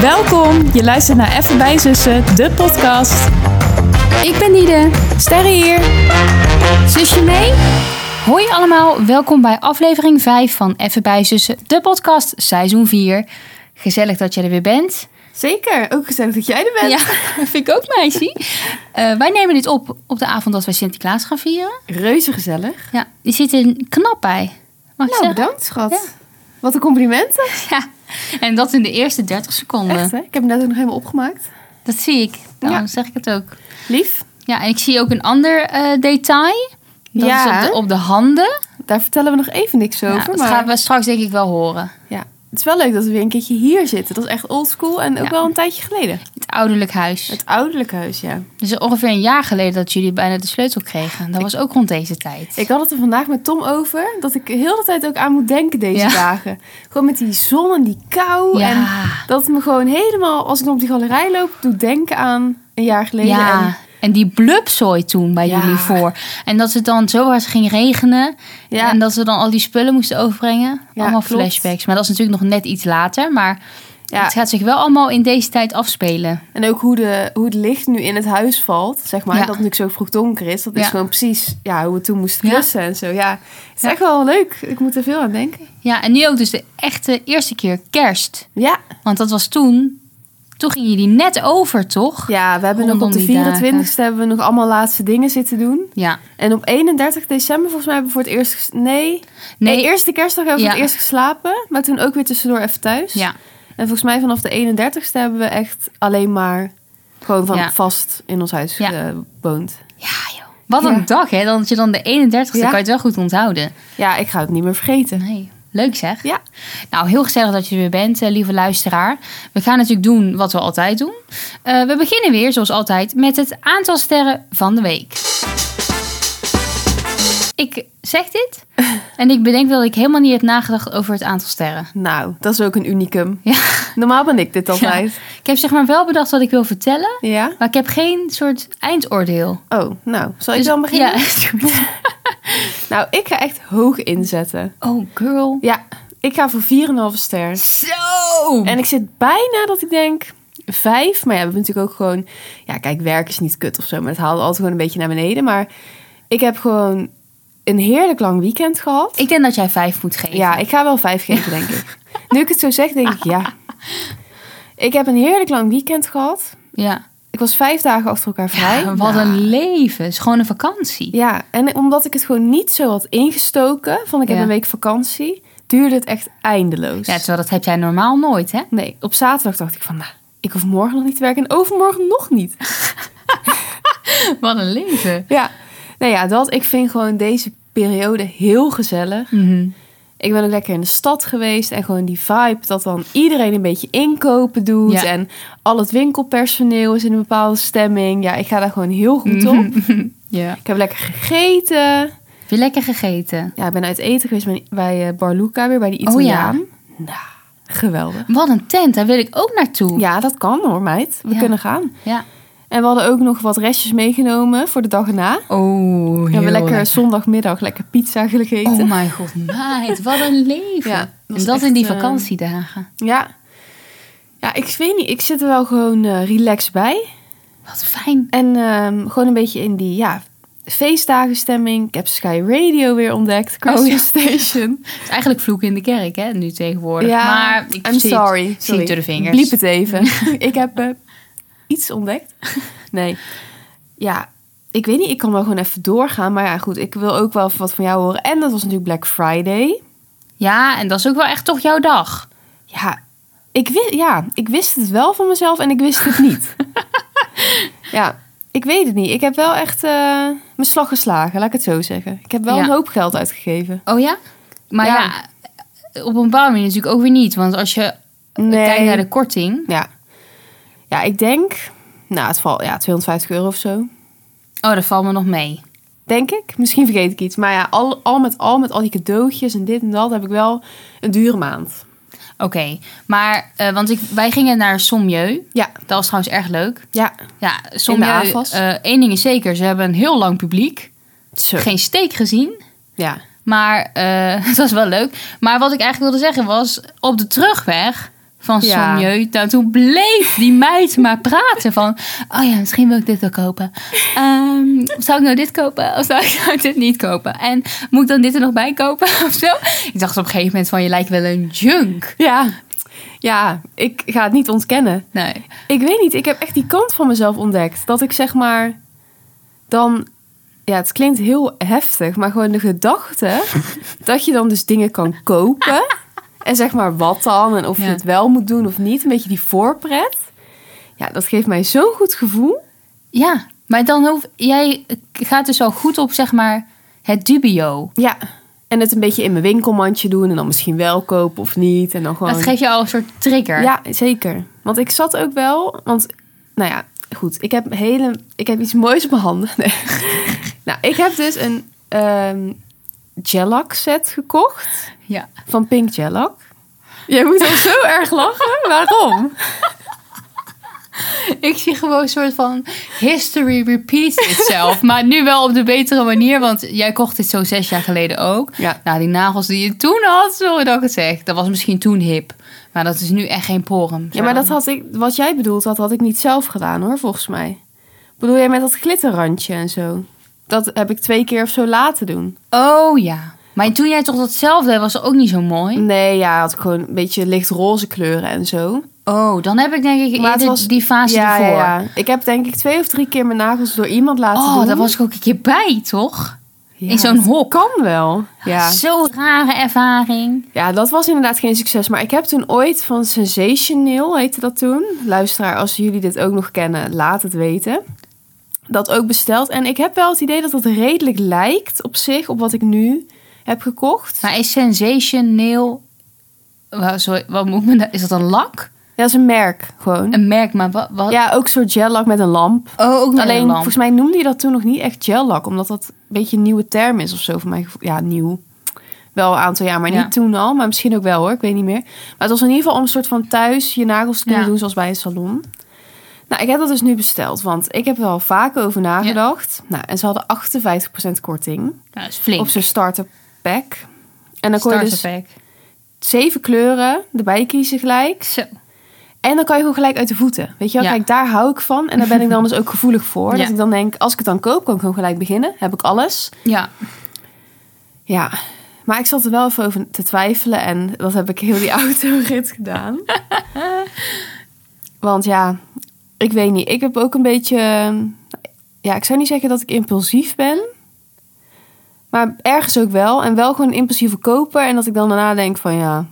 Welkom, je luistert naar Even bij Zussen, de podcast. Ik ben Nide. Sterre hier. Zusje mee? Hoi allemaal, welkom bij aflevering 5 van Even bij Zussen, de podcast, seizoen 4. Gezellig dat jij er weer bent. Zeker, ook gezellig dat jij er bent. Ja, vind ik ook meisje. Eh, wij nemen dit op op de avond dat wij Sinterklaas gaan vieren. Reuze gezellig. Ja, die zit er knap bij. Mag ik Nou, zeggen? bedankt schat. Ja. Wat een complimenten. Ja, en dat in de eerste 30 seconden. Echt hè? Ik heb hem net ook nog helemaal opgemaakt. Dat zie ik, daarom zeg ik het ook. Lief, Ja, en ik zie ook een ander eh, detail. Dat Ja. is op de, op de handen. daar vertellen we nog even niks Nou, over. dat maar gaan we straks denk ik wel horen. ja. Het is wel leuk dat we weer een keertje hier zitten. Dat is echt oldschool en ook Ja. wel een tijdje geleden. Het ouderlijk huis. Het ouderlijk huis, ja. Dus ongeveer een jaar geleden dat jullie bijna de sleutel kregen. Dat was ook rond deze tijd. Ik had het er vandaag met Tom over. Dat ik heel de tijd ook aan moet denken deze Ja. dagen. Gewoon met die zon en die kou. ja, En dat het me gewoon helemaal, als ik dan op die galerij loop, doet denken aan een jaar geleden. ja. En, En, die blubzooi toen bij Ja. jullie voor. En dat het dan zo hard ging regenen. ja. En dat ze dan al die spullen moesten overbrengen. Ja, allemaal klopt. flashbacks. Maar dat is natuurlijk nog net iets later. Maar Ja. het gaat zich wel allemaal in deze tijd afspelen. En ook hoe, de, hoe het licht nu in het huis valt, zeg maar. Ja. Dat het natuurlijk zo vroeg donker is. Dat Ja. is gewoon precies ja, hoe we toen moesten Ja. klussen en zo. Ja, het is Ja. echt wel leuk. Ik moet er veel aan denken. Ja, en nu ook dus de echte eerste keer kerst. Ja, Want dat was toen... Toen gingen jullie net over, toch? ja we hebben nog Rondom op de die dagen. 24 e hebben we nog allemaal laatste dingen zitten doen. Ja. En op 31 december volgens mij hebben we voor het eerst... ges- Nee, nee. Nee, eerste kerstdag hebben we Ja. voor het eerst geslapen. Maar toen ook weer tussendoor even thuis. ja. En volgens mij vanaf de 31ste hebben we echt alleen maar... Gewoon van Ja. vast in ons huis Ja. gewoond. Ja, joh. Wat een Ja. dag, hè? Dan dat je dan de 31ste Ja. kan je het wel goed onthouden. Ja, ik ga het niet meer vergeten. Nee. Leuk zeg. Ja. Nou, heel gezellig dat je er weer bent, eh, lieve luisteraar. We gaan natuurlijk doen wat we altijd doen. Eh, we beginnen weer, zoals altijd, met het aantal sterren van de week. Ik zeg dit en ik bedenk dat ik helemaal niet heb nagedacht over het aantal sterren. Nou, dat is ook een unicum. Ja. Normaal ben ik dit altijd. Ik heb zeg maar wel bedacht wat ik wil vertellen, Ja? maar ik heb geen soort eindoordeel. Oh, nou, zal ik Dus- dan beginnen? Ja, is goed. Nou, ik ga echt hoog inzetten. Oh, girl. Ja, ik ga voor 4,5 ster. Zo! En ik zit bijna dat ik denk 5. Maar ja, we hebben natuurlijk ook gewoon... Ja, kijk, werk is niet kut of zo. Maar het haalde altijd gewoon een beetje naar beneden. Maar ik heb gewoon een heerlijk lang weekend gehad. Ik denk dat jij vijf moet geven. Ja, ik ga wel 5 geven, denk ik. Nu ik het zo zeg, denk ik ja. Ik heb een heerlijk lang weekend gehad. Ja. Ik was vijf dagen achter elkaar vrij. Ja, wat een leven. Het is gewoon een vakantie. Ja, en omdat ik het gewoon niet zo had ingestoken, van ik heb Ja. een week vakantie, duurde het echt eindeloos. Ja, terwijl dat heb jij normaal nooit, hè? Nee, op zaterdag dacht ik van, nou, ik hoef morgen nog niet te werken en overmorgen nog niet. Wat een leven. Ja, nou ja, dat, ik vind gewoon deze periode heel gezellig. Mhm. Ik ben ook lekker in de stad geweest en gewoon die vibe dat dan iedereen een beetje inkopen doet Ja. en al het winkelpersoneel is in een bepaalde stemming. Ja, ik ga daar gewoon heel goed op. Mhm. Ja. Ik heb lekker gegeten. Heb je lekker gegeten? Ja, ik ben uit eten geweest bij, bij eh, Bar Luca weer, bij die Oh ja. Italiaan. Nou, geweldig. Wat een tent, daar wil ik ook naartoe. Ja, dat kan hoor, meid. We Ja. kunnen gaan. Ja. En we hadden ook nog wat restjes meegenomen voor de dag erna. Oh, We hebben lekker zondagmiddag lekker pizza gegeten. Oh mijn god, meid, wat een leven. Ja, dat en was dat echt, in die eh, vakantiedagen. Ja. Ja, ik weet niet. Ik zit er wel gewoon eh relaxed bij. Wat fijn. En ehm, gewoon een beetje in die, ja, feestdagenstemming. Ik heb Sky Radio weer ontdekt. Oh Christmas Station. Het is eigenlijk vloeken in de kerk, hè, nu tegenwoordig. maar ik I'm zie het- sorry. zie Sorry. het door de vingers. Bliep het even. ik heb eh, iets ontdekt. Nee. Ja, ik weet niet. Ik kan wel gewoon even doorgaan. Maar ja, goed. Ik wil ook wel even wat van jou horen. En dat was natuurlijk Black Friday. Ja, en dat is ook wel echt toch jouw dag. Ja, ik, wi- ja, ik wist het wel van mezelf en ik wist het niet. ja, ik weet het niet. Ik heb wel echt eh, mijn slag geslagen. Laat ik het zo zeggen. Ik heb wel Ja. een hoop geld uitgegeven. Oh ja? Maar ja, Ja. op een bepaalde manier natuurlijk ook weer niet. Want als je kijkt naar de korting... Ja. Ja, ik denk... Nou, het valt ja, 250 euro of zo. Oh, dat valt me nog mee. Denk ik. Misschien vergeet ik iets. Maar ja, al, al met al, met al die cadeautjes en dit en dat, heb ik wel een dure maand. Oké, maar eh, want ik, wij gingen naar Somjeu. Ja. Dat was trouwens erg leuk. Ja. Ja, Somjeu, AFAS. eh, één ding is zeker, ze hebben een heel lang publiek. Zo. Geen steek gezien, Ja. maar eh het was wel leuk. Maar wat ik eigenlijk wilde zeggen was, op de terugweg van Ja. Somjeu. Nou, toen bleef die meid maar praten van... Oh ja, misschien wil ik dit wel kopen. Ehm, zou ik nou dit kopen? Of zou ik nou dit niet kopen? En moet ik dan dit er nog bij kopen? Of zo? Ik dacht op een gegeven moment van... Je lijkt wel een junk. Ja. Ja, ik ga het niet ontkennen. Nee. Ik weet niet, ik heb echt die kant van mezelf ontdekt. Dat ik zeg maar dan... Ja, het klinkt heel heftig, maar gewoon de gedachte dat je dan dus dingen kan kopen. En zeg maar wat dan en of je Ja. het wel moet doen of niet. Een beetje die voorpret. Ja, dat geeft mij zo'n goed gevoel. Ja, maar dan hoef... Jij gaat dus al goed op, zeg maar, het dubio. Ja. En het een beetje in mijn winkelmandje doen en dan misschien wel kopen of niet. En dan gewoon... Dat geeft je al een soort trigger. Ja, zeker. Want ik zat ook wel, want nou ja, goed, ik heb hele, ik heb iets moois op mijn handen. Nee. nou, ik heb dus een ehm Jellac set gekocht ja. van Pink Jellac. Jij moet al zo erg lachen. Waarom? Ik zie gewoon een soort van history repeats itself. maar nu wel op de betere manier, want jij kocht dit zo zes jaar geleden ook. Ja. Nou, die nagels die je toen had, sorry dat ik het zeg. Dat was misschien toen hip, maar dat is nu echt geen porum. Ja, maar dat had ik, wat jij bedoelt, dat had ik niet zelf gedaan hoor, volgens mij. Bedoel jij met dat glitterrandje en zo? Dat heb ik twee keer of zo laten doen. Oh ja. Maar toen jij toch datzelfde deed, was het ook niet zo mooi. Nee, ja, had ik gewoon een beetje lichtroze kleuren en zo. Oh, dan heb ik denk ik Maar het eerder was- die fase ervoor. Ja, ja. Ik heb denk ik twee of drie keer mijn nagels door iemand laten doen. Oh, daar was ik ook een keer bij, toch? Ja, in zo'n dat hok. Kan wel. Ja. Zo'n rare ervaring. ja, dat was inderdaad geen succes. Maar ik heb toen ooit van Sensational, heette dat toen. Luisteraar, als jullie dit ook nog kennen, laat het weten. Dat ook besteld. En ik heb wel het idee dat dat redelijk lijkt op zich, op wat ik nu heb gekocht. Maar is sensationeel... Wa- Sorry, wat moet men... Is dat een lak? Ja, dat is een merk gewoon. Een merk, maar wat? wat? Ja, ook soort gellak met een lamp. Oh, ook nog Alleen, een lamp. volgens mij noemde je dat toen nog niet echt gellak. Omdat dat een beetje een nieuwe term is of zo. Voor mij, ja, nieuw. Wel een aantal jaar, maar Ja. niet toen al. Maar misschien ook wel hoor, ik weet niet meer. Maar het was in ieder geval om een soort van thuis je nagels te kunnen Ja. doen zoals bij een salon. Nou, ik heb dat dus nu besteld. Want ik heb er al vaak over nagedacht. Nou, en ze hadden 58% korting Nou, is flink. op zijn starter pack. En dan kon je dus Starter pack. zeven kleuren erbij kiezen gelijk. Zo. En dan kan je gewoon gelijk uit de voeten. Weet je wel, Ja. kijk, daar hou ik van. En daar ben ik dan dus ook gevoelig voor. Dat Ja. ik dan denk, als ik het dan koop, kan ik gewoon gelijk beginnen. Heb ik alles. Ja. Ja, maar ik zat er wel even over te twijfelen. En dat heb ik heel die autorit gedaan. Want ja, ik weet niet. Ik heb ook een beetje... Ja, ik zou niet zeggen dat ik impulsief ben. Maar ergens ook wel. En wel gewoon een impulsieve koper. En dat ik dan daarna denk van ja...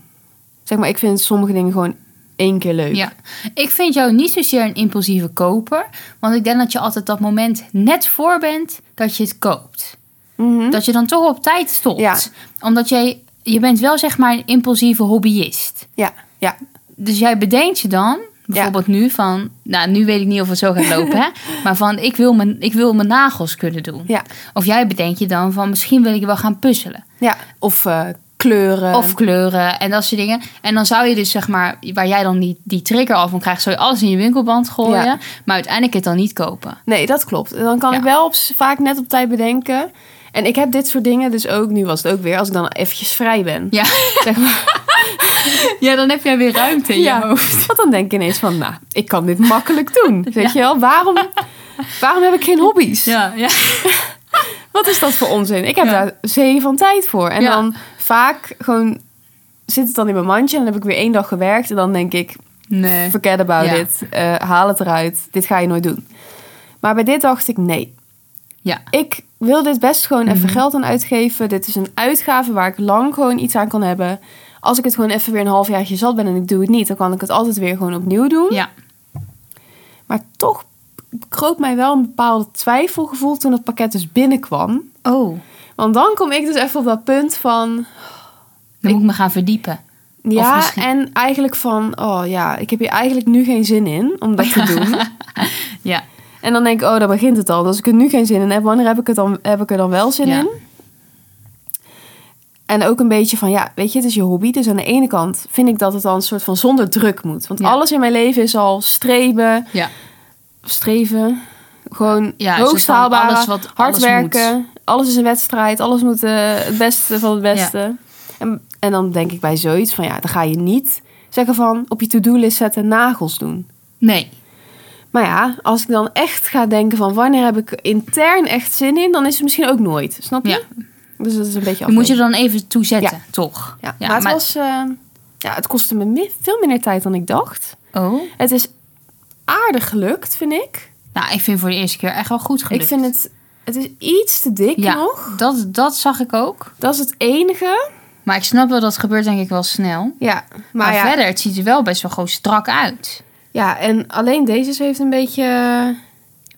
Zeg maar, ik vind sommige dingen gewoon één keer leuk. ja. Ik vind jou niet zozeer een impulsieve koper. Want ik denk dat je altijd dat moment net voor bent dat je het koopt. Mhm. Dat je dan toch op tijd stopt. Ja. Omdat jij... Je bent wel zeg maar een impulsieve hobbyist. Ja, ja. Dus jij bedenkt je dan... Bijvoorbeeld nu van... Nou, nu weet ik niet of het zo gaat lopen, hè. Maar van, ik wil, mijn, ik wil mijn nagels kunnen doen. Ja. Of jij bedenkt je dan van... Misschien wil ik wel gaan puzzelen. Ja, of eh, kleuren. Of kleuren en dat soort dingen. En dan zou je dus, zeg maar, waar jij dan die, die trigger al van krijgt, zou je alles in je winkelband gooien. Ja. Maar uiteindelijk het dan niet kopen. Nee, dat klopt. Dan kan Ja. ik wel op, vaak net op tijd bedenken. En ik heb dit soort dingen dus ook, nu was het ook weer, als ik dan eventjes vrij ben. Ja, Zeg maar. ja dan heb jij weer ruimte in je hoofd. Want dan denk ik ineens van, nou, ik kan dit makkelijk doen. Weet je wel, waarom, waarom heb ik geen hobby's? Ja, ja. Wat is dat voor onzin? Ik heb Ja. daar zee van tijd voor. En Ja. dan vaak gewoon zit het dan in mijn mandje en dan heb ik weer één dag gewerkt. En dan denk ik, Nee. forget about Ja. it, Eh, haal het eruit, dit ga je nooit doen. Maar bij dit dacht ik, nee, Ja. ik wil dit best gewoon even Mhm. geld aan uitgeven. Dit is een uitgave waar ik lang gewoon iets aan kan hebben. Als ik het gewoon even weer een halfjaartje zat ben en ik doe het niet, dan kan ik het altijd weer gewoon opnieuw doen. Ja. Maar toch kroop mij wel een bepaald twijfelgevoel toen het pakket dus binnenkwam. Oh, Want dan kom ik dus even op dat punt van dan moet ik me gaan verdiepen. ja, misschien- en eigenlijk van oh ja, ik heb hier eigenlijk nu geen zin in om dat te doen. Ja. En dan denk ik, oh, daar begint het al. Dus als ik er nu geen zin in heb, wanneer heb ik, het dan, heb ik er dan wel zin Ja. in? En ook een beetje van, ja, weet je, het is je hobby. Dus aan de ene kant vind ik dat het dan een soort van zonder druk moet. Want Ja. alles in mijn leven is al streben, Ja. streven, gewoon Ja, een soort hoogst van haalbaar, alles wat- hard alles werken. Alles is een wedstrijd, alles moet eh, het beste van het beste. En, en dan denk ik bij zoiets van, ja, dan ga je niet zeggen van op je to-do-list zetten nagels doen. Nee. Maar ja, als ik dan echt ga denken van wanneer heb ik intern echt zin in, dan is het misschien ook nooit. Snap je? Ja. Dus dat is een beetje Je moet je afwegen. er dan even toe zetten, toch? Ja, maar het, was, eh, ja, het kostte me mi- veel minder tijd dan ik dacht. Oh. Het is aardig gelukt, vind ik. Nou, ik vind voor de eerste keer echt wel goed gelukt. Ik vind het, het is iets te dik ja, nog. Dat, dat zag ik ook. Dat is het enige. Maar ik snap wel, dat gebeurt denk ik wel snel. Maar, Ja, maar, ja, verder, het ziet er wel best wel gewoon strak uit. ja, en alleen deze heeft een beetje...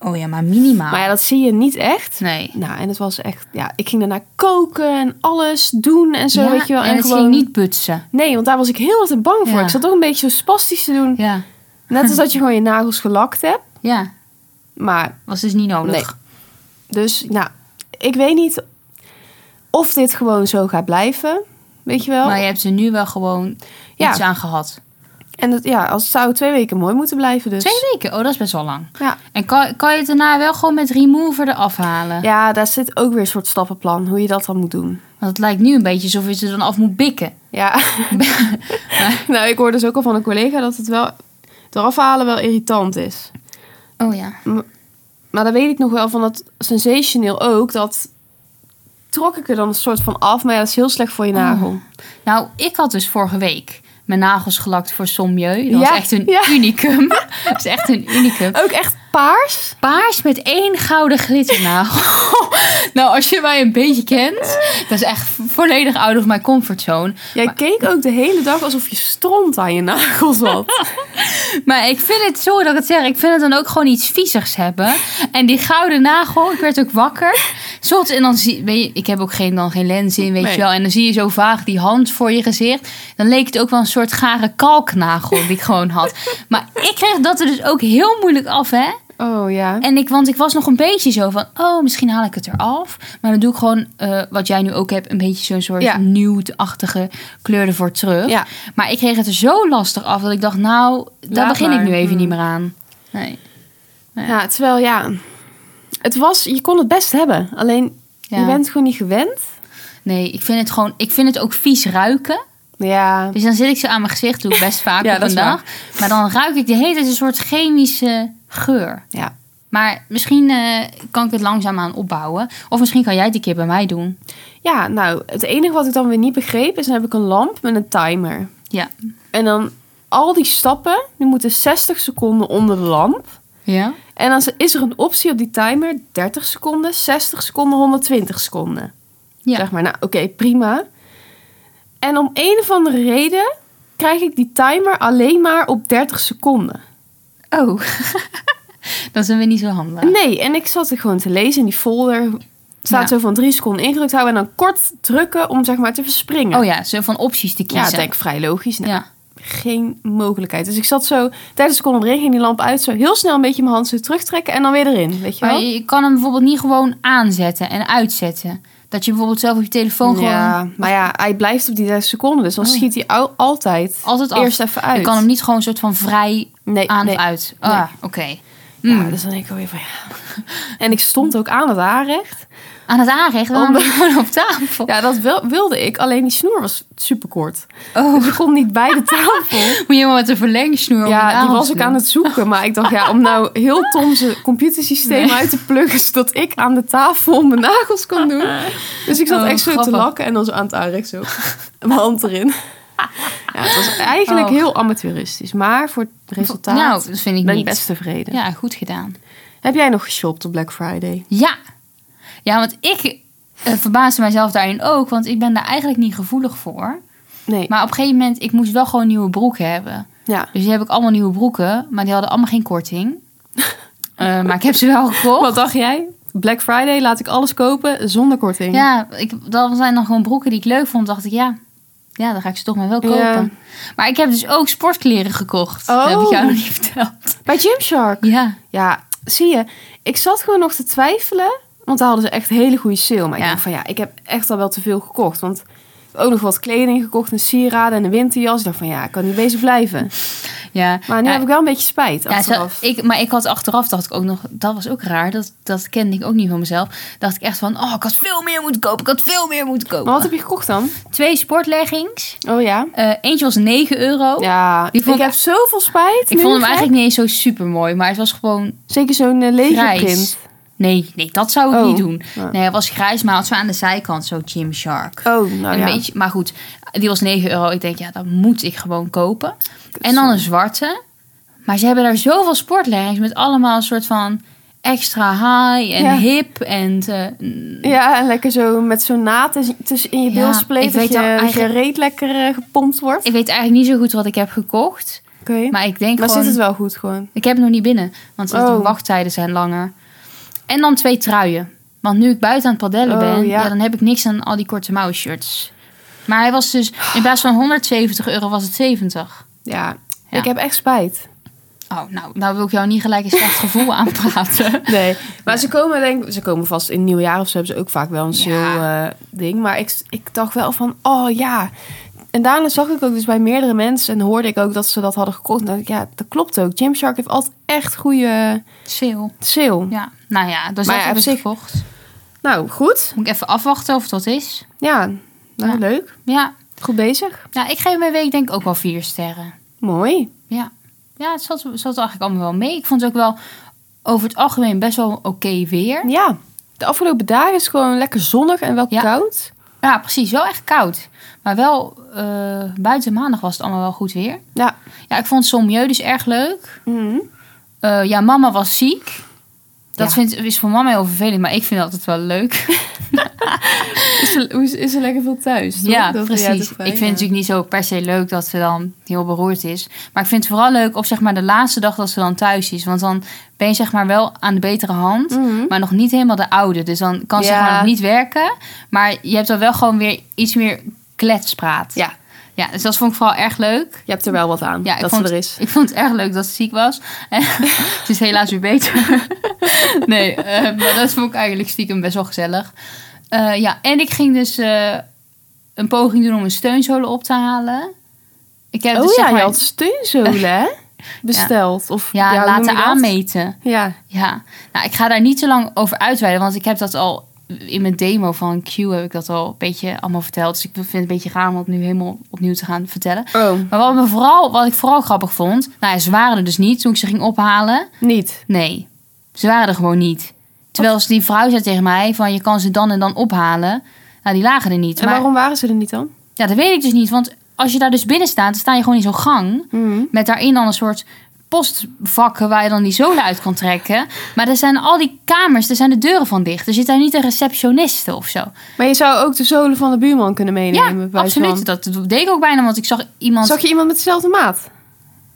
Oh ja, maar minimaal. Maar ja, dat zie je niet echt. nee. Nou, en het was echt... Ja, ik ging daarna koken en alles doen en zo, Ja, weet je wel. en het gewoon... ging niet butsen. Nee, want daar was ik heel wat in bang voor. Ja. Ik zat toch een beetje zo spastisch te doen. Ja. Net als dat je gewoon je nagels gelakt hebt. Ja, Maar was dus niet nodig. Dus, nou, ik weet niet of dit gewoon zo gaat blijven. Weet je wel? Maar je hebt er nu wel gewoon Ja. iets aan gehad. En dat, ja, als het zou twee weken mooi moeten blijven dus. Twee weken? Oh, dat is best wel lang. Ja. En kan, kan je het daarna wel gewoon met remover eraf halen? ja, daar zit ook weer een soort stappenplan, hoe je dat dan moet doen. Want het lijkt nu een beetje alsof je ze dan af moet bikken. Ja. nou, ik hoor dus ook al van een collega dat het wel, het eraf halen wel irritant is. Oh ja. Maar dan weet ik nog wel van dat sensationeel ook, dat trok ik er dan een soort van af. Maar ja, dat is heel slecht voor je nagel. Nou, ik had dus vorige week mijn nagels gelakt voor Sommieu. Dat Ja, was echt een ja. unicum. Dat is echt een unicum. Ook echt paars? Paars met één gouden glitternagel. nou, als je mij een beetje kent, dat is echt volledig out of my comfortzone. Jij keek ook de hele dag alsof je stront aan je nagels had. Maar ik vind het, sorry dat ik het zeg, ik vind het dan ook gewoon iets viezigs hebben. En die gouden nagel, ik werd ook wakker. Zot, en dan zie weet je, ik heb ook geen, dan geen lens in, weet Nee. je wel. En dan zie je zo vaag die hand voor je gezicht. Dan leek het ook wel een soort gare kalknagel die ik gewoon had. Maar ik kreeg dat er dus ook heel moeilijk af, hè. Oh ja. En ik, want ik was nog een beetje zo van, oh, misschien haal ik het eraf. Maar dan doe ik gewoon, eh, wat jij nu ook hebt, een beetje zo'n soort Ja. nude-achtige kleur ervoor terug. Ja. Maar ik kreeg het er zo lastig af dat ik dacht, nou, daar Laat begin maar. ik nu even Hmm. niet meer aan. Nee. Ja, terwijl ja, het was, je kon het best hebben. Alleen Ja. je bent gewoon niet gewend. Nee, ik vind het gewoon, ik vind het ook vies ruiken. Ja. Dus dan zit ik zo aan mijn gezicht, doe ik best vaak Ja, op dat een is dag. Maar dan ruik ik de hele tijd een soort chemische geur. ja. Maar misschien eh, kan ik het langzaamaan opbouwen. Of misschien kan jij het een keer bij mij doen. Ja, nou, het enige wat ik dan weer niet begreep is, dan heb ik een lamp met een timer. Ja. En dan al die stappen, die moeten 60 seconden onder de lamp. Ja? En dan is er een optie op die timer, 30 seconden, 60 seconden, 120 seconden. Ja. Zeg maar, nou oké, prima. En om een of andere reden krijg ik die timer alleen maar op 30 seconden. Oh, dat zijn we niet zo handig. Nee, en ik zat er gewoon te lezen in die folder. Het staat Ja. zo van drie seconden ingedrukt houden en dan kort drukken om zeg maar te verspringen. Oh ja, zo van opties te ja, kiezen. dat denk ik vrij logisch. Nou, Ja. Geen mogelijkheid. Dus ik zat zo 30 seconden erin, ging die lamp uit, zo heel snel een beetje mijn hand zo terugtrekken en dan weer erin. Weet je Maar wel? je je kan hem bijvoorbeeld niet gewoon aanzetten en uitzetten. Dat je bijvoorbeeld zelf op je telefoon gewoon Ja, maar ja, hij blijft op die 30 seconden, dus dan Oh ja. schiet hij al- altijd, altijd af. eerst even uit. Je kan hem niet gewoon soort van vrij nee, aan nee. of uit. Ah, Nee. oké. Ja, Mm. dus dan denk ik alweer van ja. En ik stond ook aan het aanrecht. Aan het aanrecht, dan Om- ben je gewoon op tafel. Ja, dat wil- wilde ik, alleen die snoer was superkort. Oh, Dus ik kon niet bij de tafel. moet je helemaal met een verlengsnoer om je Ja, die nagels was te ik doen. aan het zoeken. Maar ik dacht, ja, om nou heel Tom zijn computersysteem Nee. uit te pluggen... zodat ik aan de tafel mijn nagels kon doen. Dus ik zat Oh, echt zo te grappig. lakken en dan zo aan het aanrecht zo. Mijn hand erin. Ja, het was eigenlijk Oh. heel amateuristisch. Maar voor het resultaat Nou, dat vind ik ben ik niet. best tevreden. Ja, goed gedaan. Heb jij nog geshopt op Black Friday? Ja. Ja, want ik eh, verbaasde mijzelf daarin ook. Want ik ben daar eigenlijk niet gevoelig voor. Nee. Maar op een gegeven moment, ik moest wel gewoon nieuwe broeken hebben. ja. Dus die heb ik allemaal nieuwe broeken, maar die hadden allemaal geen korting. Eh, maar ik heb ze wel gekocht. Wat dacht jij? Black Friday laat ik alles kopen zonder korting. Ja, ik, dat zijn dan gewoon broeken die ik leuk vond. dacht ik, ja, ja dan ga ik ze toch maar wel kopen. Ja. Maar ik heb dus ook sportkleren gekocht. Dat heb ik Oh. jou nog niet verteld. Bij Gymshark. Ja, Ja, zie je. Ik zat gewoon nog te twijfelen. Want daar hadden ze echt hele goede sale. Maar ik Ja. dacht van ja, ik heb echt al wel te veel gekocht. Want ik heb ook nog wat kleding gekocht. Een sieraden en een winterjas. Ik dacht van ja, ik kan niet bezig blijven. Ja. Maar nu Ja, heb ik wel een beetje spijt ja, zo- achteraf. ik, maar ik had achteraf, dacht ik ook nog, dat was ook raar. Dat, dat kende ik ook niet van mezelf. Dacht ik echt van, oh, ik had veel meer moeten kopen. Ik had veel meer moeten kopen. maar wat heb je gekocht dan? Twee sportleggings. Oh ja. Eh, eentje was 9 euro. Ja, Die vond ik ik- heb zoveel spijt. ik nu, vond hem hè? eigenlijk niet eens zo super mooi, maar het was gewoon Zeker zo'n uh, grijs. Nee, nee, dat zou ik Oh. niet doen. Ja. Nee, het was grijs, maar het was aan de zijkant zo Gymshark. Oh, nou En ja. een beetje, maar goed, die was 9 euro. Ik denk, ja, dat moet ik gewoon kopen. En dan een zwarte. Maar ze hebben daar zoveel sportleggings met allemaal een soort van extra high en Ja. hip. En eh, Ja, en lekker zo met zo'n naad tuss- tussen in je Ja, bilspleet. ik Dat, weet je, al dat je eigenlijk- reet lekker eh, gepompt wordt. ik weet eigenlijk niet zo goed wat ik heb gekocht. Oké. Maar, Maar ik denk zit gewoon, het wel goed gewoon? ik heb het nog niet binnen. Want de Oh. wachttijden zijn langer. En dan twee truien. Want nu ik buiten aan het padellen Oh, ben, ja. ja, dan heb ik niks aan al die korte mouw shirts. Maar hij was dus, in plaats van 170 euro was het 70. Ja. Ja. Ik heb echt spijt. Oh, nou, nou wil ik jou niet gelijk een slecht gevoel aanpraten. Nee. Maar ze komen denk ze komen vast in het nieuwjaar of zo hebben ze ook vaak wel een sale Ja. eh, ding. Maar ik, ik dacht wel van, oh ja. En daarna zag ik ook dus bij meerdere mensen en hoorde ik ook dat ze dat hadden gekocht. En dacht ik, ja, dat klopt ook. Gymshark heeft altijd echt goede Sale. sale. Ja, nou ja, dus Maar dat heb ja, op ik zich- gekocht. Nou, goed. Moet ik even afwachten of dat is. Ja, nou, Ja. leuk. Ja, Goed bezig. nou, ik geef mijn week denk ik ook wel vier sterren. Mooi. Ja, ja het zat, zat eigenlijk allemaal wel mee. Ik vond het ook wel over het algemeen best wel oké weer. Ja, de afgelopen dagen is het gewoon lekker zonnig en wel Ja. koud. Ja, precies. Wel echt koud. Maar wel, eh, buiten maandag was het allemaal wel goed weer. Ja. Ja, ik vond Sommieu dus erg leuk. Mhm. Eh, ja, mama was ziek. Dat Ja. vindt- is voor mama heel vervelend, maar ik vind dat altijd wel leuk. Is, er, hoe is, is er lekker veel thuis? toch? Ja, Dat- precies. dat ik is vind fijn, het ja. natuurlijk niet zo per se leuk dat ze dan heel beroerd is. Maar ik vind het vooral leuk op zeg maar, de laatste dag dat ze dan thuis is. Want dan ben je zeg maar, wel aan de betere hand, Mhm. maar nog niet helemaal de oude. Dus dan kan ze Ja. gewoon nog niet werken. Maar je hebt dan wel gewoon weer iets meer kletspraat. Ja, ja dus dat vond ik vooral erg leuk. je hebt er wel wat aan Ja, ik dat vond, ze er is. ik vond het erg leuk dat ze ziek was. het is helaas weer beter. nee, eh, maar dat vond ik eigenlijk stiekem best wel gezellig. Eh, ja, en ik ging dus eh, een poging doen om een steunzolen op te halen. Ik heb oh dus ja, zeg maar, je had steunzolen hè? besteld. Of, ja, hoe noem laten je dat? aanmeten. Ja. Ja, nou, ik ga daar niet zo lang over uitweiden, want ik heb dat al in mijn demo van Q heb ik dat al een beetje allemaal verteld. Dus ik vind het een beetje raar om dat nu helemaal opnieuw te gaan vertellen. Oh, Maar wat, me vooral, wat ik vooral grappig vond, nou ja, ze waren er dus niet toen ik ze ging ophalen. niet. Nee, ze waren er gewoon niet. Terwijl ze die vrouw zei tegen mij van je kan ze dan en dan ophalen. Nou, die lagen er niet. En maar waarom waren ze er niet dan? ja, dat weet ik dus niet. Want als je daar dus binnen staat, dan sta je gewoon in zo'n gang. Mhm. Met daarin dan een soort postvakken waar je dan die zolen uit kan trekken. Maar er zijn al die kamers, er zijn de deuren van dicht. Er zit daar niet een receptioniste of zo. Maar je zou ook de zolen van de buurman kunnen meenemen. ja, bij absoluut. zo'n- Dat deed ik ook bijna, want ik zag iemand... Zag je iemand met dezelfde maat?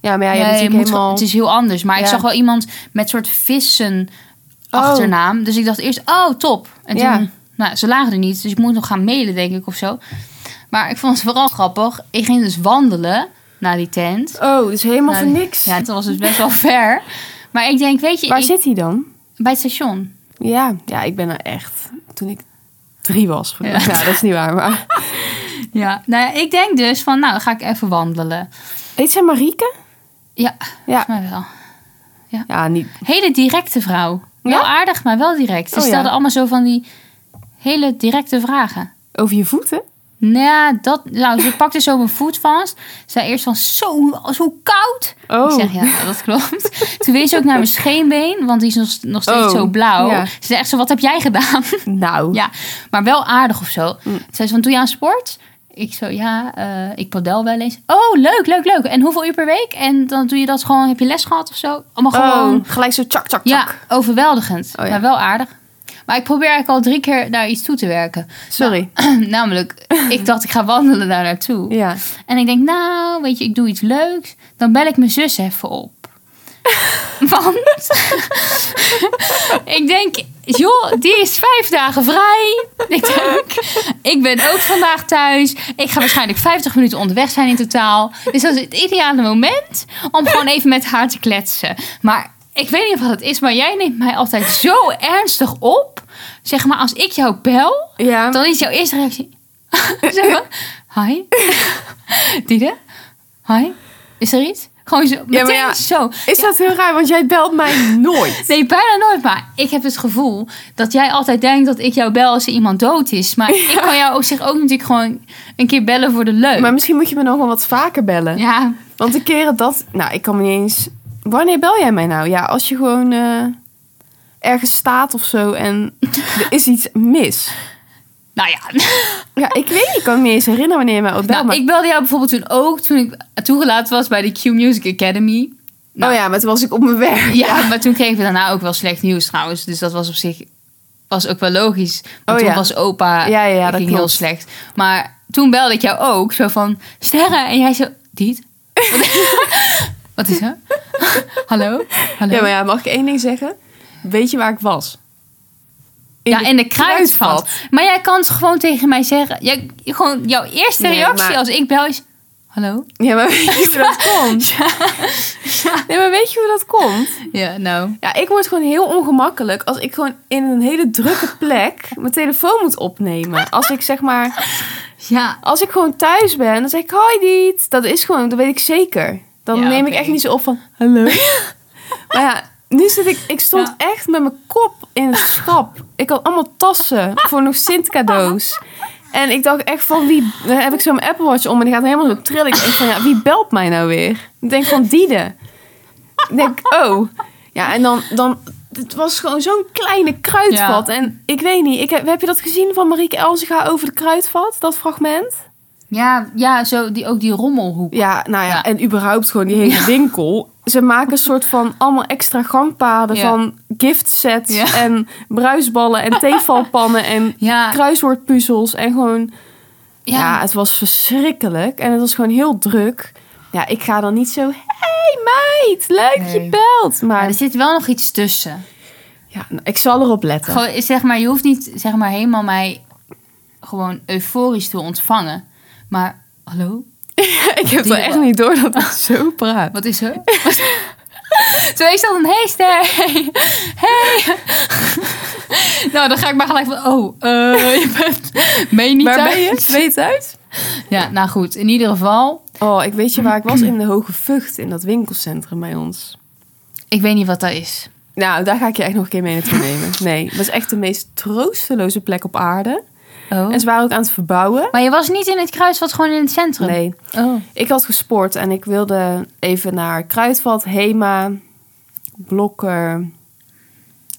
Ja, maar ja, je hebt Nee, natuurlijk moet ge- helemaal... Het is heel anders. Maar ik Ja. zag wel iemand met soort vissen Oh. achternaam. Dus ik dacht eerst, oh, top. En Ja. toen, nou, ze lagen er niet. Dus ik moet nog gaan mailen, denk ik, of zo. Maar ik vond het vooral grappig. Ik ging dus wandelen naar die tent. Oh, dus helemaal Nou, voor niks. Ja, dat was dus best wel ver. Maar ik denk, weet je, Waar ik- zit hij dan? bij het station. Ja, ja, ik ben er echt. Toen ik drie was. Ja. Ja. dat is niet waar. Maar... Ja. Nou ja, ik denk dus van, nou, ga ik even wandelen. Heet zij Marieke? Ja, Ja. maar wel. Ja, niet. Hele directe vrouw. Ja? Wel aardig, maar wel direct. Ze Oh, ja. stelde allemaal zo van die hele directe vragen. Over je voeten? Nou, dat, nou, ze pakte zo mijn voet vast. Ze zei eerst van, zo, zo koud. Oh. Ik zeg, ja, nou, dat klopt. Toen wees ze ook naar mijn scheenbeen, want die is nog, nog steeds Oh, zo blauw. ja. Ze zei echt zo, wat heb jij gedaan? Nou. Ja, maar wel aardig of zo. Mm. Toen Zei ze van, doe je aan sport? Ik zo, ja, eh, ik padel wel eens. Oh, leuk, leuk, leuk. En hoeveel uur per week? En dan doe je dat gewoon, heb je les gehad of zo? Allemaal gewoon, Gewoon. gelijk zo tjak, tjak, Oh. ja, tjak. overweldigend. Oh ja. Maar wel aardig. Maar ik probeer eigenlijk al drie keer naar iets toe te werken. Sorry. Namelijk, ik dacht, ik ga wandelen daar naartoe. Ja. En ik denk, nou, weet je, ik doe iets leuks. Dan bel ik mijn zus even op. Want ik denk, joh, die is vijf dagen vrij. Ik denk, ik ben ook vandaag thuis. Ik ga waarschijnlijk 50 minuten onderweg zijn in totaal. Dus dat is het ideale moment om gewoon even met haar te kletsen. Maar ik weet niet wat het is, maar jij neemt mij altijd zo ernstig op. Zeg maar, als ik jou bel, Ja. dan is jouw eerste reactie. zeg maar, hi. Diede, hi. Is er iets? Gewoon zo, meteen ja. zo. Is dat heel raar? Want jij belt mij nooit. Nee, bijna nooit. Maar ik heb het gevoel dat jij altijd denkt dat ik jou bel als er iemand dood is. Maar ik kan jou op zich ook natuurlijk gewoon een keer bellen voor de leuk. Maar misschien moet je me nog wel wat vaker bellen. ja, Want de keren dat... Nou, ik kan me niet eens... Wanneer bel jij mij nou? Ja, als je gewoon eh, ergens staat of zo en er is iets mis. nou ja. Ja, ik weet niet. Ik kan me niet eens herinneren wanneer je mij ooit belt. Nou, maar- ik belde jou bijvoorbeeld toen ook, toen ik toegelaten was bij de Q Music Academy. nou- Oh ja, maar toen was ik op mijn werk. Ja, maar toen kregen we daarna ook wel slecht nieuws trouwens. Dus dat was op zich was ook wel logisch. Want Oh toen ja. was opa Ja, ja, ja, ging dat heel klopt. slecht. Maar toen belde ik jou ook zo van... Sterren, en jij zo... Diet? Wat- Wat is er? Hallo? Hallo? Ja, maar ja, mag ik één ding zeggen? Weet je waar ik was? In ja, de in de kruidvat. kruidvat. Maar jij kan het gewoon tegen mij zeggen. Jij, gewoon jouw eerste Nee, reactie maar- als ik bel is... Hallo? Ja, maar weet je hoe dat komt? Nee, maar weet je hoe dat komt? Ja, nou. Ja, ik word gewoon heel ongemakkelijk als ik gewoon in een hele drukke plek mijn telefoon moet opnemen. Als ik zeg maar, Ja. als ik gewoon thuis ben, dan zeg ik hoi Diet. Dat is gewoon, dat weet ik zeker. Dan Ja, neem ik oké. echt niet zo op van hallo. maar ja, nu zit ik, ik stond echt met mijn kop in het schap. Ik had allemaal tassen voor nog Sint cadeaus. En ik dacht echt van wie, dan heb ik zo mijn Apple Watch om en die gaat helemaal zo trillen. Ik denk van ja, wie belt mij nou weer? Ik denk van Diede. Ik denk, oh. Ja, en dan, dan het was gewoon zo'n kleine kruidvat. Ja. En ik weet niet, ik heb, heb je dat gezien van Marieke Elzega over de kruidvat, dat fragment? Ja, ja zo die, ook die rommelhoek. Ja, nou ja, Ja. en überhaupt gewoon die hele winkel. Ze maken een soort van allemaal extra gangpaden Ja. van gift sets Ja. en bruisballen en theevalpannen en Ja, kruiswoordpuzzels. En gewoon, ja. ja, het was verschrikkelijk en het was gewoon heel druk. Ja, ik ga dan niet zo, hey meid, leuk dat je Nee. belt. Maar Maar er zit wel nog iets tussen. ja, nou, ik zal erop letten. Gewoon, zeg maar, je hoeft niet zeg maar, helemaal mij gewoon euforisch te ontvangen. Maar, hallo? ik heb Die- wel echt niet door dat ik zo praat. Wat is er? Zo is dat een heester. Hey. hey. nou, dan ga ik maar gelijk van... Oh, eh, je bent... Meen je niet Waar ben thuis? je? Zweet uit? Ja, nou goed. In ieder geval... Oh, ik weet je waar ik was? In de Hoge Vught, in dat winkelcentrum bij ons. Ik weet niet wat dat is. Nou, daar ga ik je echt nog een keer mee naartoe nemen. Nee, dat is echt de meest troosteloze plek op aarde. Oh. En ze waren ook aan het verbouwen. Maar je was niet in het kruisvat, gewoon in het centrum? Nee, Oh. ik had gesport en ik wilde even naar Kruidvat, Hema, Blokker.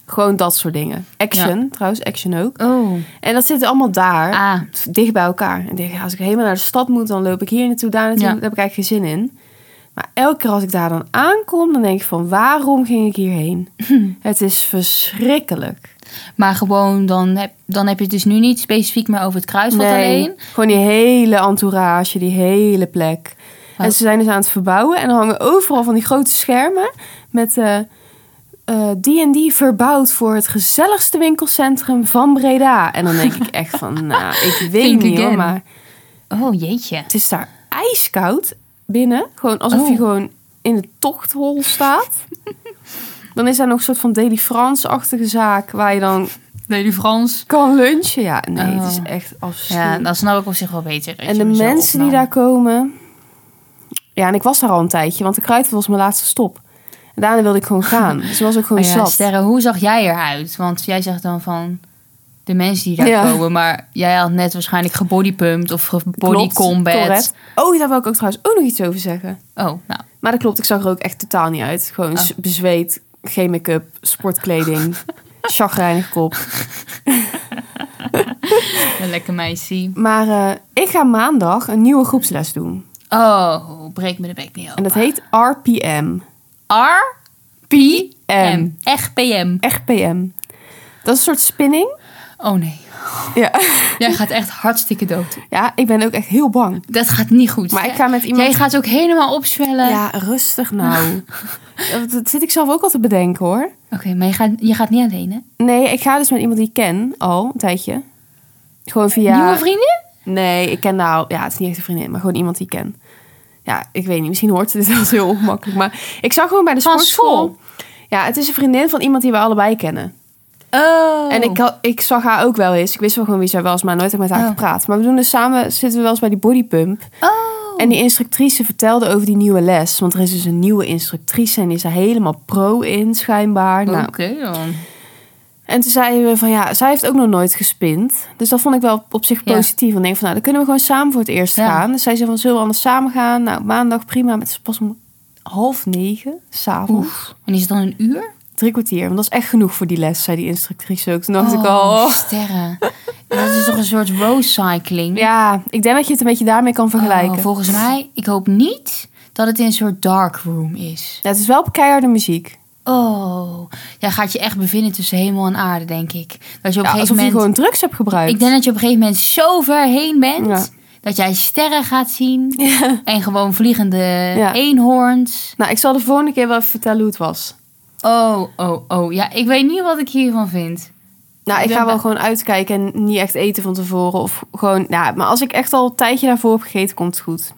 Gewoon dat soort dingen. Action, trouwens, Action ook. Oh. En dat zit allemaal daar, Ah. dicht bij elkaar. En ik denk, ja, als ik helemaal naar de stad moet, dan loop ik hier naartoe, daar naartoe. Ja. Daar heb ik eigenlijk geen zin in. Maar elke keer als ik daar dan aankom, dan denk ik van, waarom ging ik hierheen? Het is verschrikkelijk. Maar gewoon, dan heb, dan heb je het dus nu niet specifiek meer over het kruisvat alleen. Gewoon die hele entourage, die hele plek. Wat? En ze zijn dus aan het verbouwen en er hangen overal van die grote schermen met eh, eh, die en die verbouwd voor het gezelligste winkelcentrum van Breda. En dan denk ik echt van, nou, ik weet Think niet hoor, again. maar Oh, jeetje. het is daar ijskoud binnen. Gewoon alsof Oh. je gewoon in de tochthol staat. dan is daar nog een soort van Deli France-achtige zaak waar je dan Nee, die Frans. kan lunchen. Ja, nee, het is Oh. echt afschuwelijk. Ja, dat snap ik op zich wel beter. dat En je de me zo mensen die opnam. daar komen. Ja, en ik was daar al een tijdje, want de kruid was mijn laatste stop. En daarna wilde ik gewoon gaan. Dus ik was ook gewoon Maar Oh ja, zat. Sterre, hoe zag jij eruit? Want jij zegt dan van de mensen die daar Ja. komen, maar jij had net waarschijnlijk gebodypumpt of Klopt, correct. gebodycombat. Oh, daar wil ik ook trouwens ook nog iets over zeggen. Oh, nou. Maar dat klopt, ik zag er ook echt totaal niet uit. Gewoon Oh. s- bezweet, geen make-up, sportkleding, chagrijnig kop. Een lekker meisje. Maar eh, ik ga maandag een nieuwe groepsles doen. Oh, breek me de bek niet open. En dat heet RPM. R P M. M. Echt PM. Echt PM. Dat is een soort spinning. Oh nee. Ja. Jij gaat echt hartstikke dood. ja, ik ben ook echt heel bang. Dat gaat niet goed. Maar ik ga met iemand Jij gaat ook helemaal opzwellen. Ja, rustig nou. dat, dat zit ik zelf ook al te bedenken hoor. Oké, maar je gaat, je gaat niet alleen, hè? Nee, ik ga dus met iemand die ik ken al een tijdje. Gewoon via... Nieuwe vriendin? Nee, ik ken nou... Ja, het is niet echt een vriendin, maar gewoon iemand die ik ken. Ja, ik weet niet. Misschien hoort ze dit als heel ongemakkelijk. Maar ik zag gewoon bij de Van sportschool... school? Ja, het is een vriendin van iemand die we allebei kennen. Oh. En ik, had- ik zag haar ook wel eens. Ik wist wel gewoon wie zij was, maar nooit heb ik met haar Oh. gepraat. Maar we doen dus samen... Zitten we wel eens bij die bodypump. Oh. En die instructrice vertelde over die nieuwe les. Want er is dus een nieuwe instructrice en die is er helemaal pro in, schijnbaar. Nou, Oké dan. en toen zeiden we van ja, zij heeft ook nog nooit gespind. Dus dat vond ik wel op zich Ja. positief. Want ik denk van nou, dan kunnen we gewoon samen voor het eerst Ja. gaan. Dus zij zei van zullen we anders samen gaan? Nou, maandag prima. Maar het is pas om half negen, s'avonds. En is het dan een uur? Drie kwartier. Want dat is echt genoeg voor die les, zei die instructrice ook. Toen dacht ik al... Oh, sterren. Dat is toch een soort road cycling? Ja, ik denk dat je het een beetje daarmee kan vergelijken. Oh, volgens mij, ik hoop niet dat het in een soort dark room is. Ja, het is wel keiharde muziek. Oh, jij gaat je echt bevinden tussen hemel en aarde, denk ik. Dat je op Ja, een gegeven alsof je moment, gewoon drugs hebt gebruikt. ik denk dat je op een gegeven moment zo ver heen bent Ja. dat jij sterren gaat zien en gewoon vliegende eenhoorns. Nou, ik zal de volgende keer wel even vertellen hoe het was. Oh, oh, oh. Ja, ik weet niet wat ik hiervan vind. Nou, ik Ik ga ben wel ba- gewoon uitkijken en niet echt eten van tevoren. Of gewoon, ja, maar als ik echt al een tijdje daarvoor heb gegeten, komt het goed.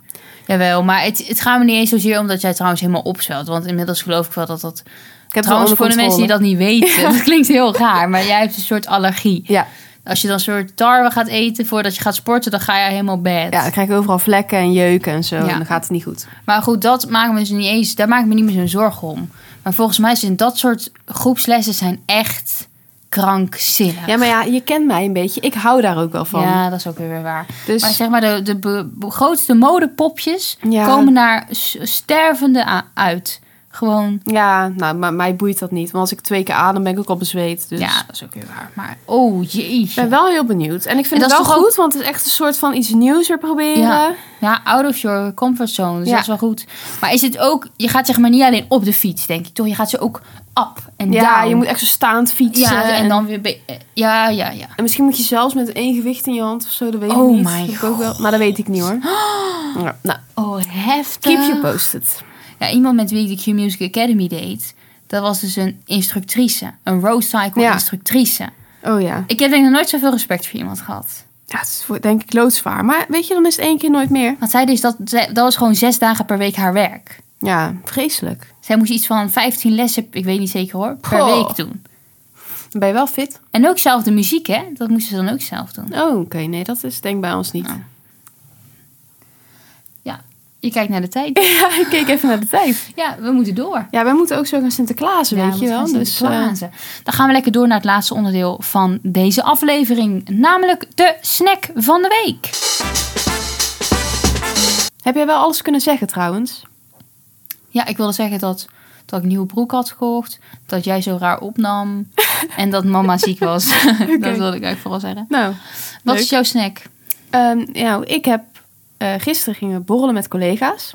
Jawel, maar het, het gaat me niet eens zozeer omdat jij trouwens helemaal opzwelt. Want inmiddels geloof ik wel dat dat... Ik heb trouwens, het wel voor de onder mensen die controle. dat niet weten, dat klinkt heel raar. Maar jij hebt een soort allergie. Ja, Als je dan een soort tarwe gaat eten voordat je gaat sporten, dan ga je helemaal bad. ja, dan krijg ik overal vlekken en jeuken en zo. Ja. En dan gaat het niet goed. Maar goed, dat maakt me dus niet eens... Daar maak ik me niet meer zo'n zorgen om. Maar volgens mij zijn dat soort groepslessen zijn echt krankzinnig. Ja, maar ja, je kent mij een beetje. Ik hou daar ook wel van. Ja, dat is ook weer waar. Dus- Maar zeg maar, de, de be- be- grootste modepopjes Ja. komen naar s- stervende a- uit. Gewoon, Ja, nou, maar mij boeit dat niet. Want als ik twee keer adem, ben ik ook al bezweet. Dus ja, dat is ook weer waar. Maar, oh ik jeetje. ben wel heel benieuwd. En ik vind En dat het is wel toch ook- goed, want het is echt een soort van iets nieuws weer proberen. Ja. Ja, out of your comfort zone. Dus Ja. dat is wel goed. Maar is het ook, je gaat zeg maar niet alleen op de fiets, denk ik. Toch, je gaat ze ook up en Ja, down. je moet echt zo staand fietsen. ja, en dan weer... be- eh, Ja, ja, ja. En misschien moet je zelfs met één gewicht in je hand of zo, dat weet ik Oh niet. my Dat heb ik ook wel, maar dat weet ik niet hoor. Ja, nou, Oh, heftig. keep you posted. Ja, iemand met wie ik de Q Music Academy deed, dat was dus een instructrice. Een road cycle Ja. instructrice. Oh ja. Ik heb denk ik nog nooit zoveel respect voor iemand gehad. Ja, het is voor- denk ik loodzwaar. Maar weet je, dan is het één keer nooit meer. Want zij dus, dat, zij- dat was gewoon zes dagen per week haar werk. Ja, vreselijk. Zij moest iets van 15 lessen, ik weet niet zeker hoor, per Goh. week doen. Dan ben je wel fit. En ook zelf de muziek, hè? Dat moesten ze dan ook zelf doen. Oh, oké. Nee, dat is denk ik bij ons niet. Oh. Ja, je kijkt naar de tijd. Ja, ik keek even naar de tijd. Ja, we moeten door. Ja, wij moeten ook zo gaan Sinterklaasen, Ja, weet je we wel. gaan Dus, eh, Sinterklaasen. Dan gaan we lekker door naar het laatste onderdeel van deze aflevering. Namelijk de snack van de week. heb jij wel alles kunnen zeggen trouwens? Ja, ik wilde zeggen dat, dat ik een nieuwe broek had gekocht. Dat jij zo raar opnam. en dat mama ziek was. dat wilde ik eigenlijk vooral zeggen. Nou, Wat Leuk. is jouw snack? ehm, nou ik heb... eh, gisteren gingen we borrelen met collega's.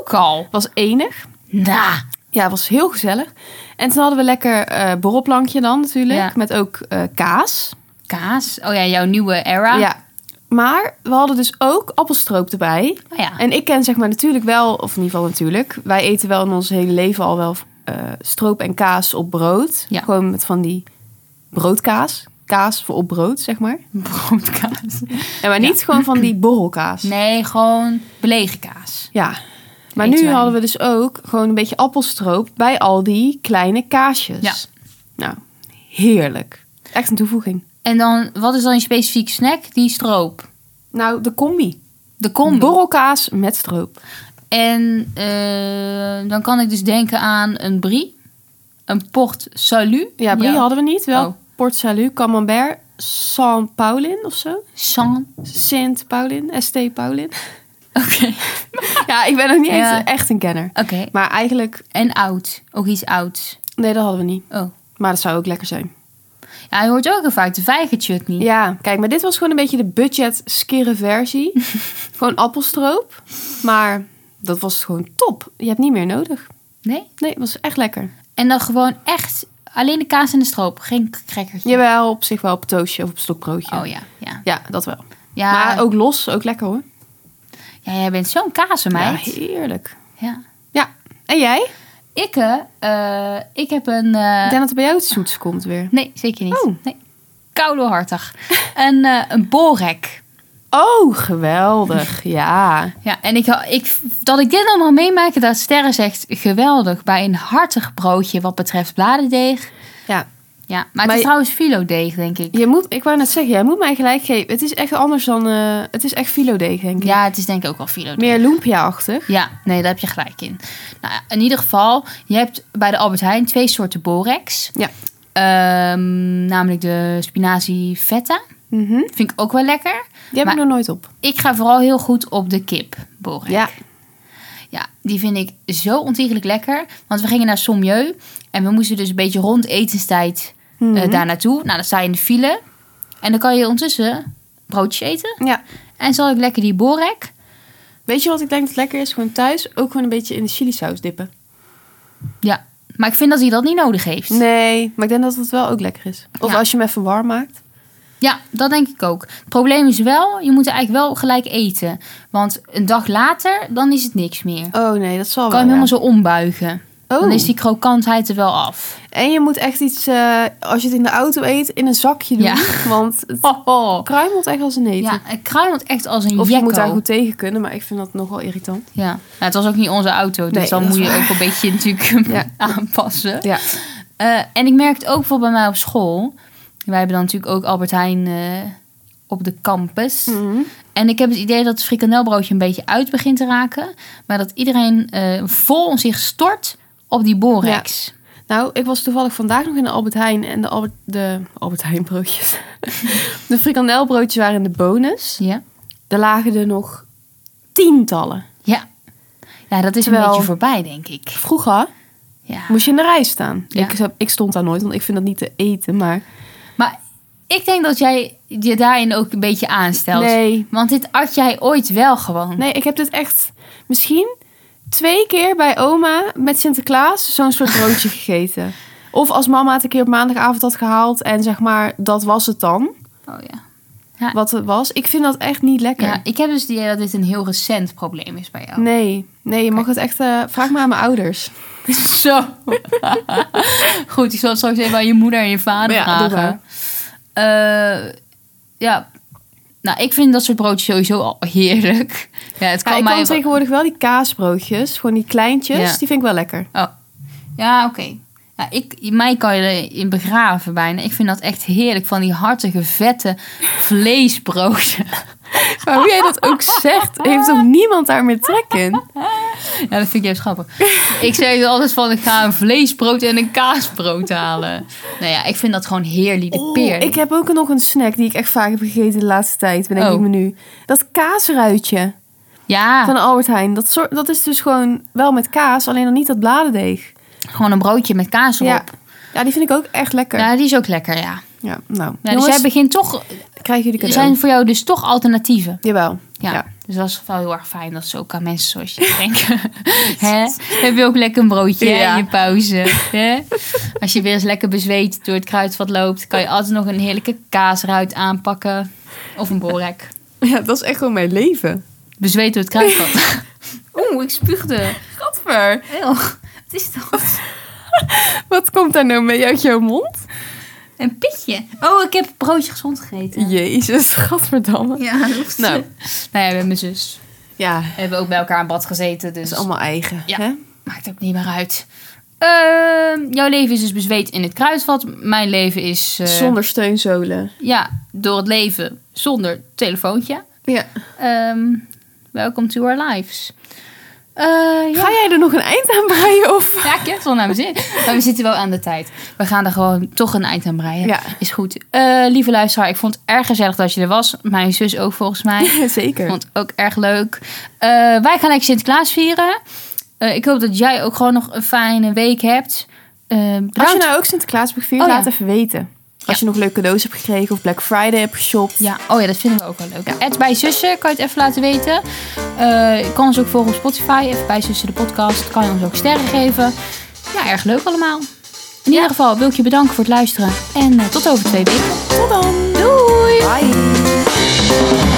Ook al. Was enig. Nou. Ja, het was heel gezellig. En toen hadden we lekker eh, borrelplankje dan natuurlijk. Ja. Met ook eh, kaas. Kaas. Oh ja, jouw nieuwe era. Ja. Maar we hadden dus ook appelstroop erbij. Oh ja. En ik ken zeg maar natuurlijk wel, of in ieder geval natuurlijk. Wij eten wel in ons hele leven al wel eh, stroop en kaas op brood. Ja. Gewoon met van die broodkaas. Kaas voor op brood, zeg maar. Broodkaas. En maar niet gewoon van die borrelkaas. Nee, gewoon belegen kaas. Ja. Maar Eten nu wij hadden we dus ook gewoon een beetje appelstroop bij al die kleine kaasjes. Ja. Nou, heerlijk. Echt een toevoeging. En dan, wat is dan je specifieke snack? Die stroop. Nou, de combi. De combi. Borrelkaas met stroop. En eh, dan kan ik dus denken aan een brie. Een port salut. Ja, brie hadden we niet. Wel Oh. Port Salut, Camembert, Saint Paulin of zo. San. Sint Paulin, ST Paulin. Oké. ja, ik ben nog niet Ja. eens echt een kenner. Oké. Maar eigenlijk, En oud. Ook iets ouds. nee, dat hadden we niet. Oh. Maar dat zou ook lekker zijn. Ja, je hoort ook heel vaak de vijgenchutney. Ja, kijk, maar dit was gewoon een beetje de budget skirre versie. gewoon appelstroop. Maar dat was gewoon top. Je hebt niet meer nodig. Nee? Nee, het was echt lekker. En dan gewoon echt alleen de kaas en de stroop. Geen k- crackertje. Jawel, op zich wel op toastje of op stokbroodje. Oh ja, ja. Ja, dat wel. Ja, Maar ook los, ook lekker hoor. ja jij bent zo'n Ja, kazenmeid. Ja. heerlijk. Ja, en jij? Ik, eh, eh, ik heb een... eh, Ik denk dat er bij jou het zoets komt weer. Nee, zeker niet. Oh. Nee. Koude hartig. een, eh, een borek. Oh, geweldig. Ja. Ja, en ik, ik, dat ik dit allemaal meemaak, dat Sterren zegt geweldig bij een hartig broodje wat betreft bladerdeeg. Ja, Ja, maar het Maar is je- trouwens filodeeg, denk ik. Je moet, ik wou net zeggen, jij moet mij gelijk geven. Het is echt anders dan... eh, het is echt filodeeg, denk ik. Ja, het is denk ik ook wel filodeeg. Meer lumpia-achtig. Ja, nee, daar heb je gelijk in. Nou, ja, in ieder geval, je hebt bij de Albert Heijn twee soorten borex. Ja. Ehm, namelijk de spinazie feta. Mhm. Vind ik ook wel lekker. Die heb Maar- ik nog nooit op. Ik ga vooral heel goed op de kip borex. Ja. Ja, die vind ik zo ontiegelijk lekker. Want we gingen naar Sommieu. En we moesten dus een beetje rond etenstijd eh, Mhm. daar naartoe. Nou, dan sta je in de file. En dan kan je ondertussen broodjes eten. ja. En zal ik lekker die borek. Weet je wat ik denk dat lekker is? Gewoon thuis ook gewoon een beetje in de chilisaus dippen. Ja, maar ik vind dat hij dat niet nodig heeft. Nee, maar ik denk dat het wel ook lekker is. Of Ja. als je hem even warm maakt. Ja, dat denk ik ook. Het probleem is wel, je moet er eigenlijk wel gelijk eten. Want een dag later, dan is het niks meer. Oh nee, dat zal kan je wel. hem helemaal zo ombuigen. ja. Dan Oh. is die krokantheid er wel af. En je moet echt iets, eh, als je het in de auto eet, in een zakje doen. Ja. Oh. Want het oh. kruimelt echt als een eten. Ja, het kruimelt echt als een Of je jekko. moet daar goed tegen kunnen, maar ik vind dat nogal irritant. Ja, nou, het was ook niet onze auto, dus Nee, dan dat moet is je ook een beetje natuurlijk Ja. aanpassen. Ja. Eh, en ik merk het ook voor bij mij op school. Wij hebben dan natuurlijk ook Albert Heijn eh, op de campus. Mhm. En ik heb het idee dat het frikandelbroodje een beetje uit begint te raken. Maar dat iedereen eh, vol zich stort op die borex. Nou, ik was toevallig vandaag nog in de Albert Heijn en de Albert, de Albert Heijn broodjes. de frikandelbroodjes waren in de bonus. Ja. Er lagen er nog tientallen. Ja. Ja, dat is een Terwijl- beetje voorbij, denk ik. Vroeger Ja. moest je in de rij staan. Ja. Ik, ik stond daar nooit, want ik vind dat niet te eten. Maar Maar ik denk dat jij je daarin ook een beetje aanstelt. nee, Want dit at jij ooit wel gewoon. Mm. nee, ik heb dit echt misschien twee keer bij oma met Sinterklaas zo'n soort broodje gegeten. Of als mama het een keer op maandagavond had gehaald en zeg maar, dat was het dan. Oh ja. Wat het was. Ik vind dat echt niet lekker. Ja, ik heb dus het idee dat dit een heel recent probleem is bij jou. Nee, nee, je mag het echt. eh, vraag maar aan mijn ouders. Zo. Goed, ik zal het straks even aan je moeder en je vader Ja, doe vragen. Eh, ja. Nou, ik vind dat soort broodjes sowieso al heerlijk. Ja, het kan Ja, ik mij kan wel- tegenwoordig wel die kaasbroodjes, gewoon die kleintjes, Ja. die vind ik wel lekker. Oh. Ja, oké. Ja, ik, mij kan je erin begraven bijna. Ik vind dat echt heerlijk. Van die hartige, vette vleesbroodjes. Maar hoe jij dat ook zegt, heeft ook niemand daar meer trek in. Ja, dat vind ik juist grappig. ik zeg altijd van, ik ga een vleesbrood en een kaasbrood halen. Nou ja, ik vind dat gewoon heerlijk. De peer. ik heb ook nog een snack die ik echt vaak heb gegeten de laatste tijd, bedenk Oh. ik me nu. Dat kaasruitje Ja, van Albert Heijn, dat, soort, dat is dus gewoon wel met kaas, alleen dan niet dat bladerdeeg. gewoon een broodje met kaas Ja. erop. ja, die vind ik ook echt lekker. Ja, die is ook lekker, ja. Ja, nou, Ja, dus jongens, jij begint toch, krijgen jullie er cadeau. zijn voor jou dus toch alternatieven. Jawel, Ja. Ja. Dus dat is wel heel erg fijn dat ze ook aan mensen zoals je denken. Hè? Heb je ook lekker een broodje hè, Ja. in je pauze? Hè? Als je weer eens lekker bezweet door het kruidvat loopt, kan je altijd nog een heerlijke kaasruit aanpakken. Of een borek. ja, dat is echt gewoon mijn leven. Bezweet door het kruidvat. Oeh, ik spuugde. Gadver, Heel. Wat is dat? wat komt daar nou mee uit jouw mond? Een pitje. Oh, ik heb broodje gezond gegeten. Jezus, gadverdamme. Ja, dat hoeft Nou. Nou. nou ja, met mijn zus. Ja, We hebben ook bij elkaar in bad gezeten, het dus is allemaal eigen. Ja. Hè? maakt ook niet meer uit. Ehm, jouw leven is dus bezweet in het kruisvat. Mijn leven is... eh, Zonder steunzolen. Ja, door het leven zonder telefoontje. Ja. Ehm welcome to our lives. Eh, ja. Ga jij er nog een eind aan breien? Of? ja, ik heb het wel naar mijn zin. Maar we zitten wel aan de tijd. We gaan er gewoon toch een eind aan breien. Ja. Is goed. Eh, lieve luisteraar, ik vond het erg gezellig dat je er was. Mijn zus ook volgens mij. Zeker. Vond het ook erg leuk. Eh, wij gaan lekker Sinterklaas vieren. Eh, ik hoop dat jij ook gewoon nog een fijne week hebt. Eh, Als je bedankt. nou ook Sinterklaas viert, Oh, ja. laat even weten. Als je nog leuke cadeaus hebt gekregen of Black Friday hebt geshopt. Ja, oh ja, dat vinden we ook wel leuk. Ed bij Zussen kan je het even laten weten. Eh, je kan ons ook volgen op Spotify. Even bij Zussen de podcast. Kan je ons ook sterren geven. Ja, erg leuk allemaal. In ieder geval wil ik je bedanken voor het luisteren. En eh, tot over twee weken. Tot dan. Doei! Bye.